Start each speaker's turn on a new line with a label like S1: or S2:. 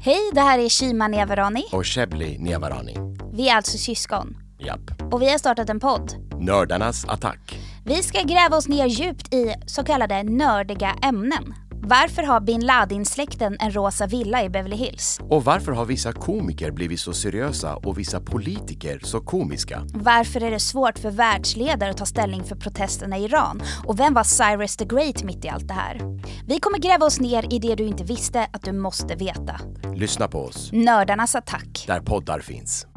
S1: Hej, det här är Shima Nevarani.
S2: Och Shebli Nevarani.
S1: Vi är alltså syskon.
S2: Japp.
S1: Och vi har startat en podd.
S2: Nördarnas attack.
S1: Vi ska gräva oss ner djupt i så kallade nördiga ämnen. Varför har bin Laden-släkten en rosa villa i Beverly Hills?
S2: Och varför har vissa komiker blivit så seriösa och vissa politiker så komiska?
S1: Varför är det svårt för världsledare att ta ställning för protesterna i Iran? Och vem var Cyrus the Great mitt i allt det här? Vi kommer gräva oss ner i det du inte visste att du måste veta.
S2: Lyssna på oss,
S1: Nördarnas attack.
S2: där poddar finns.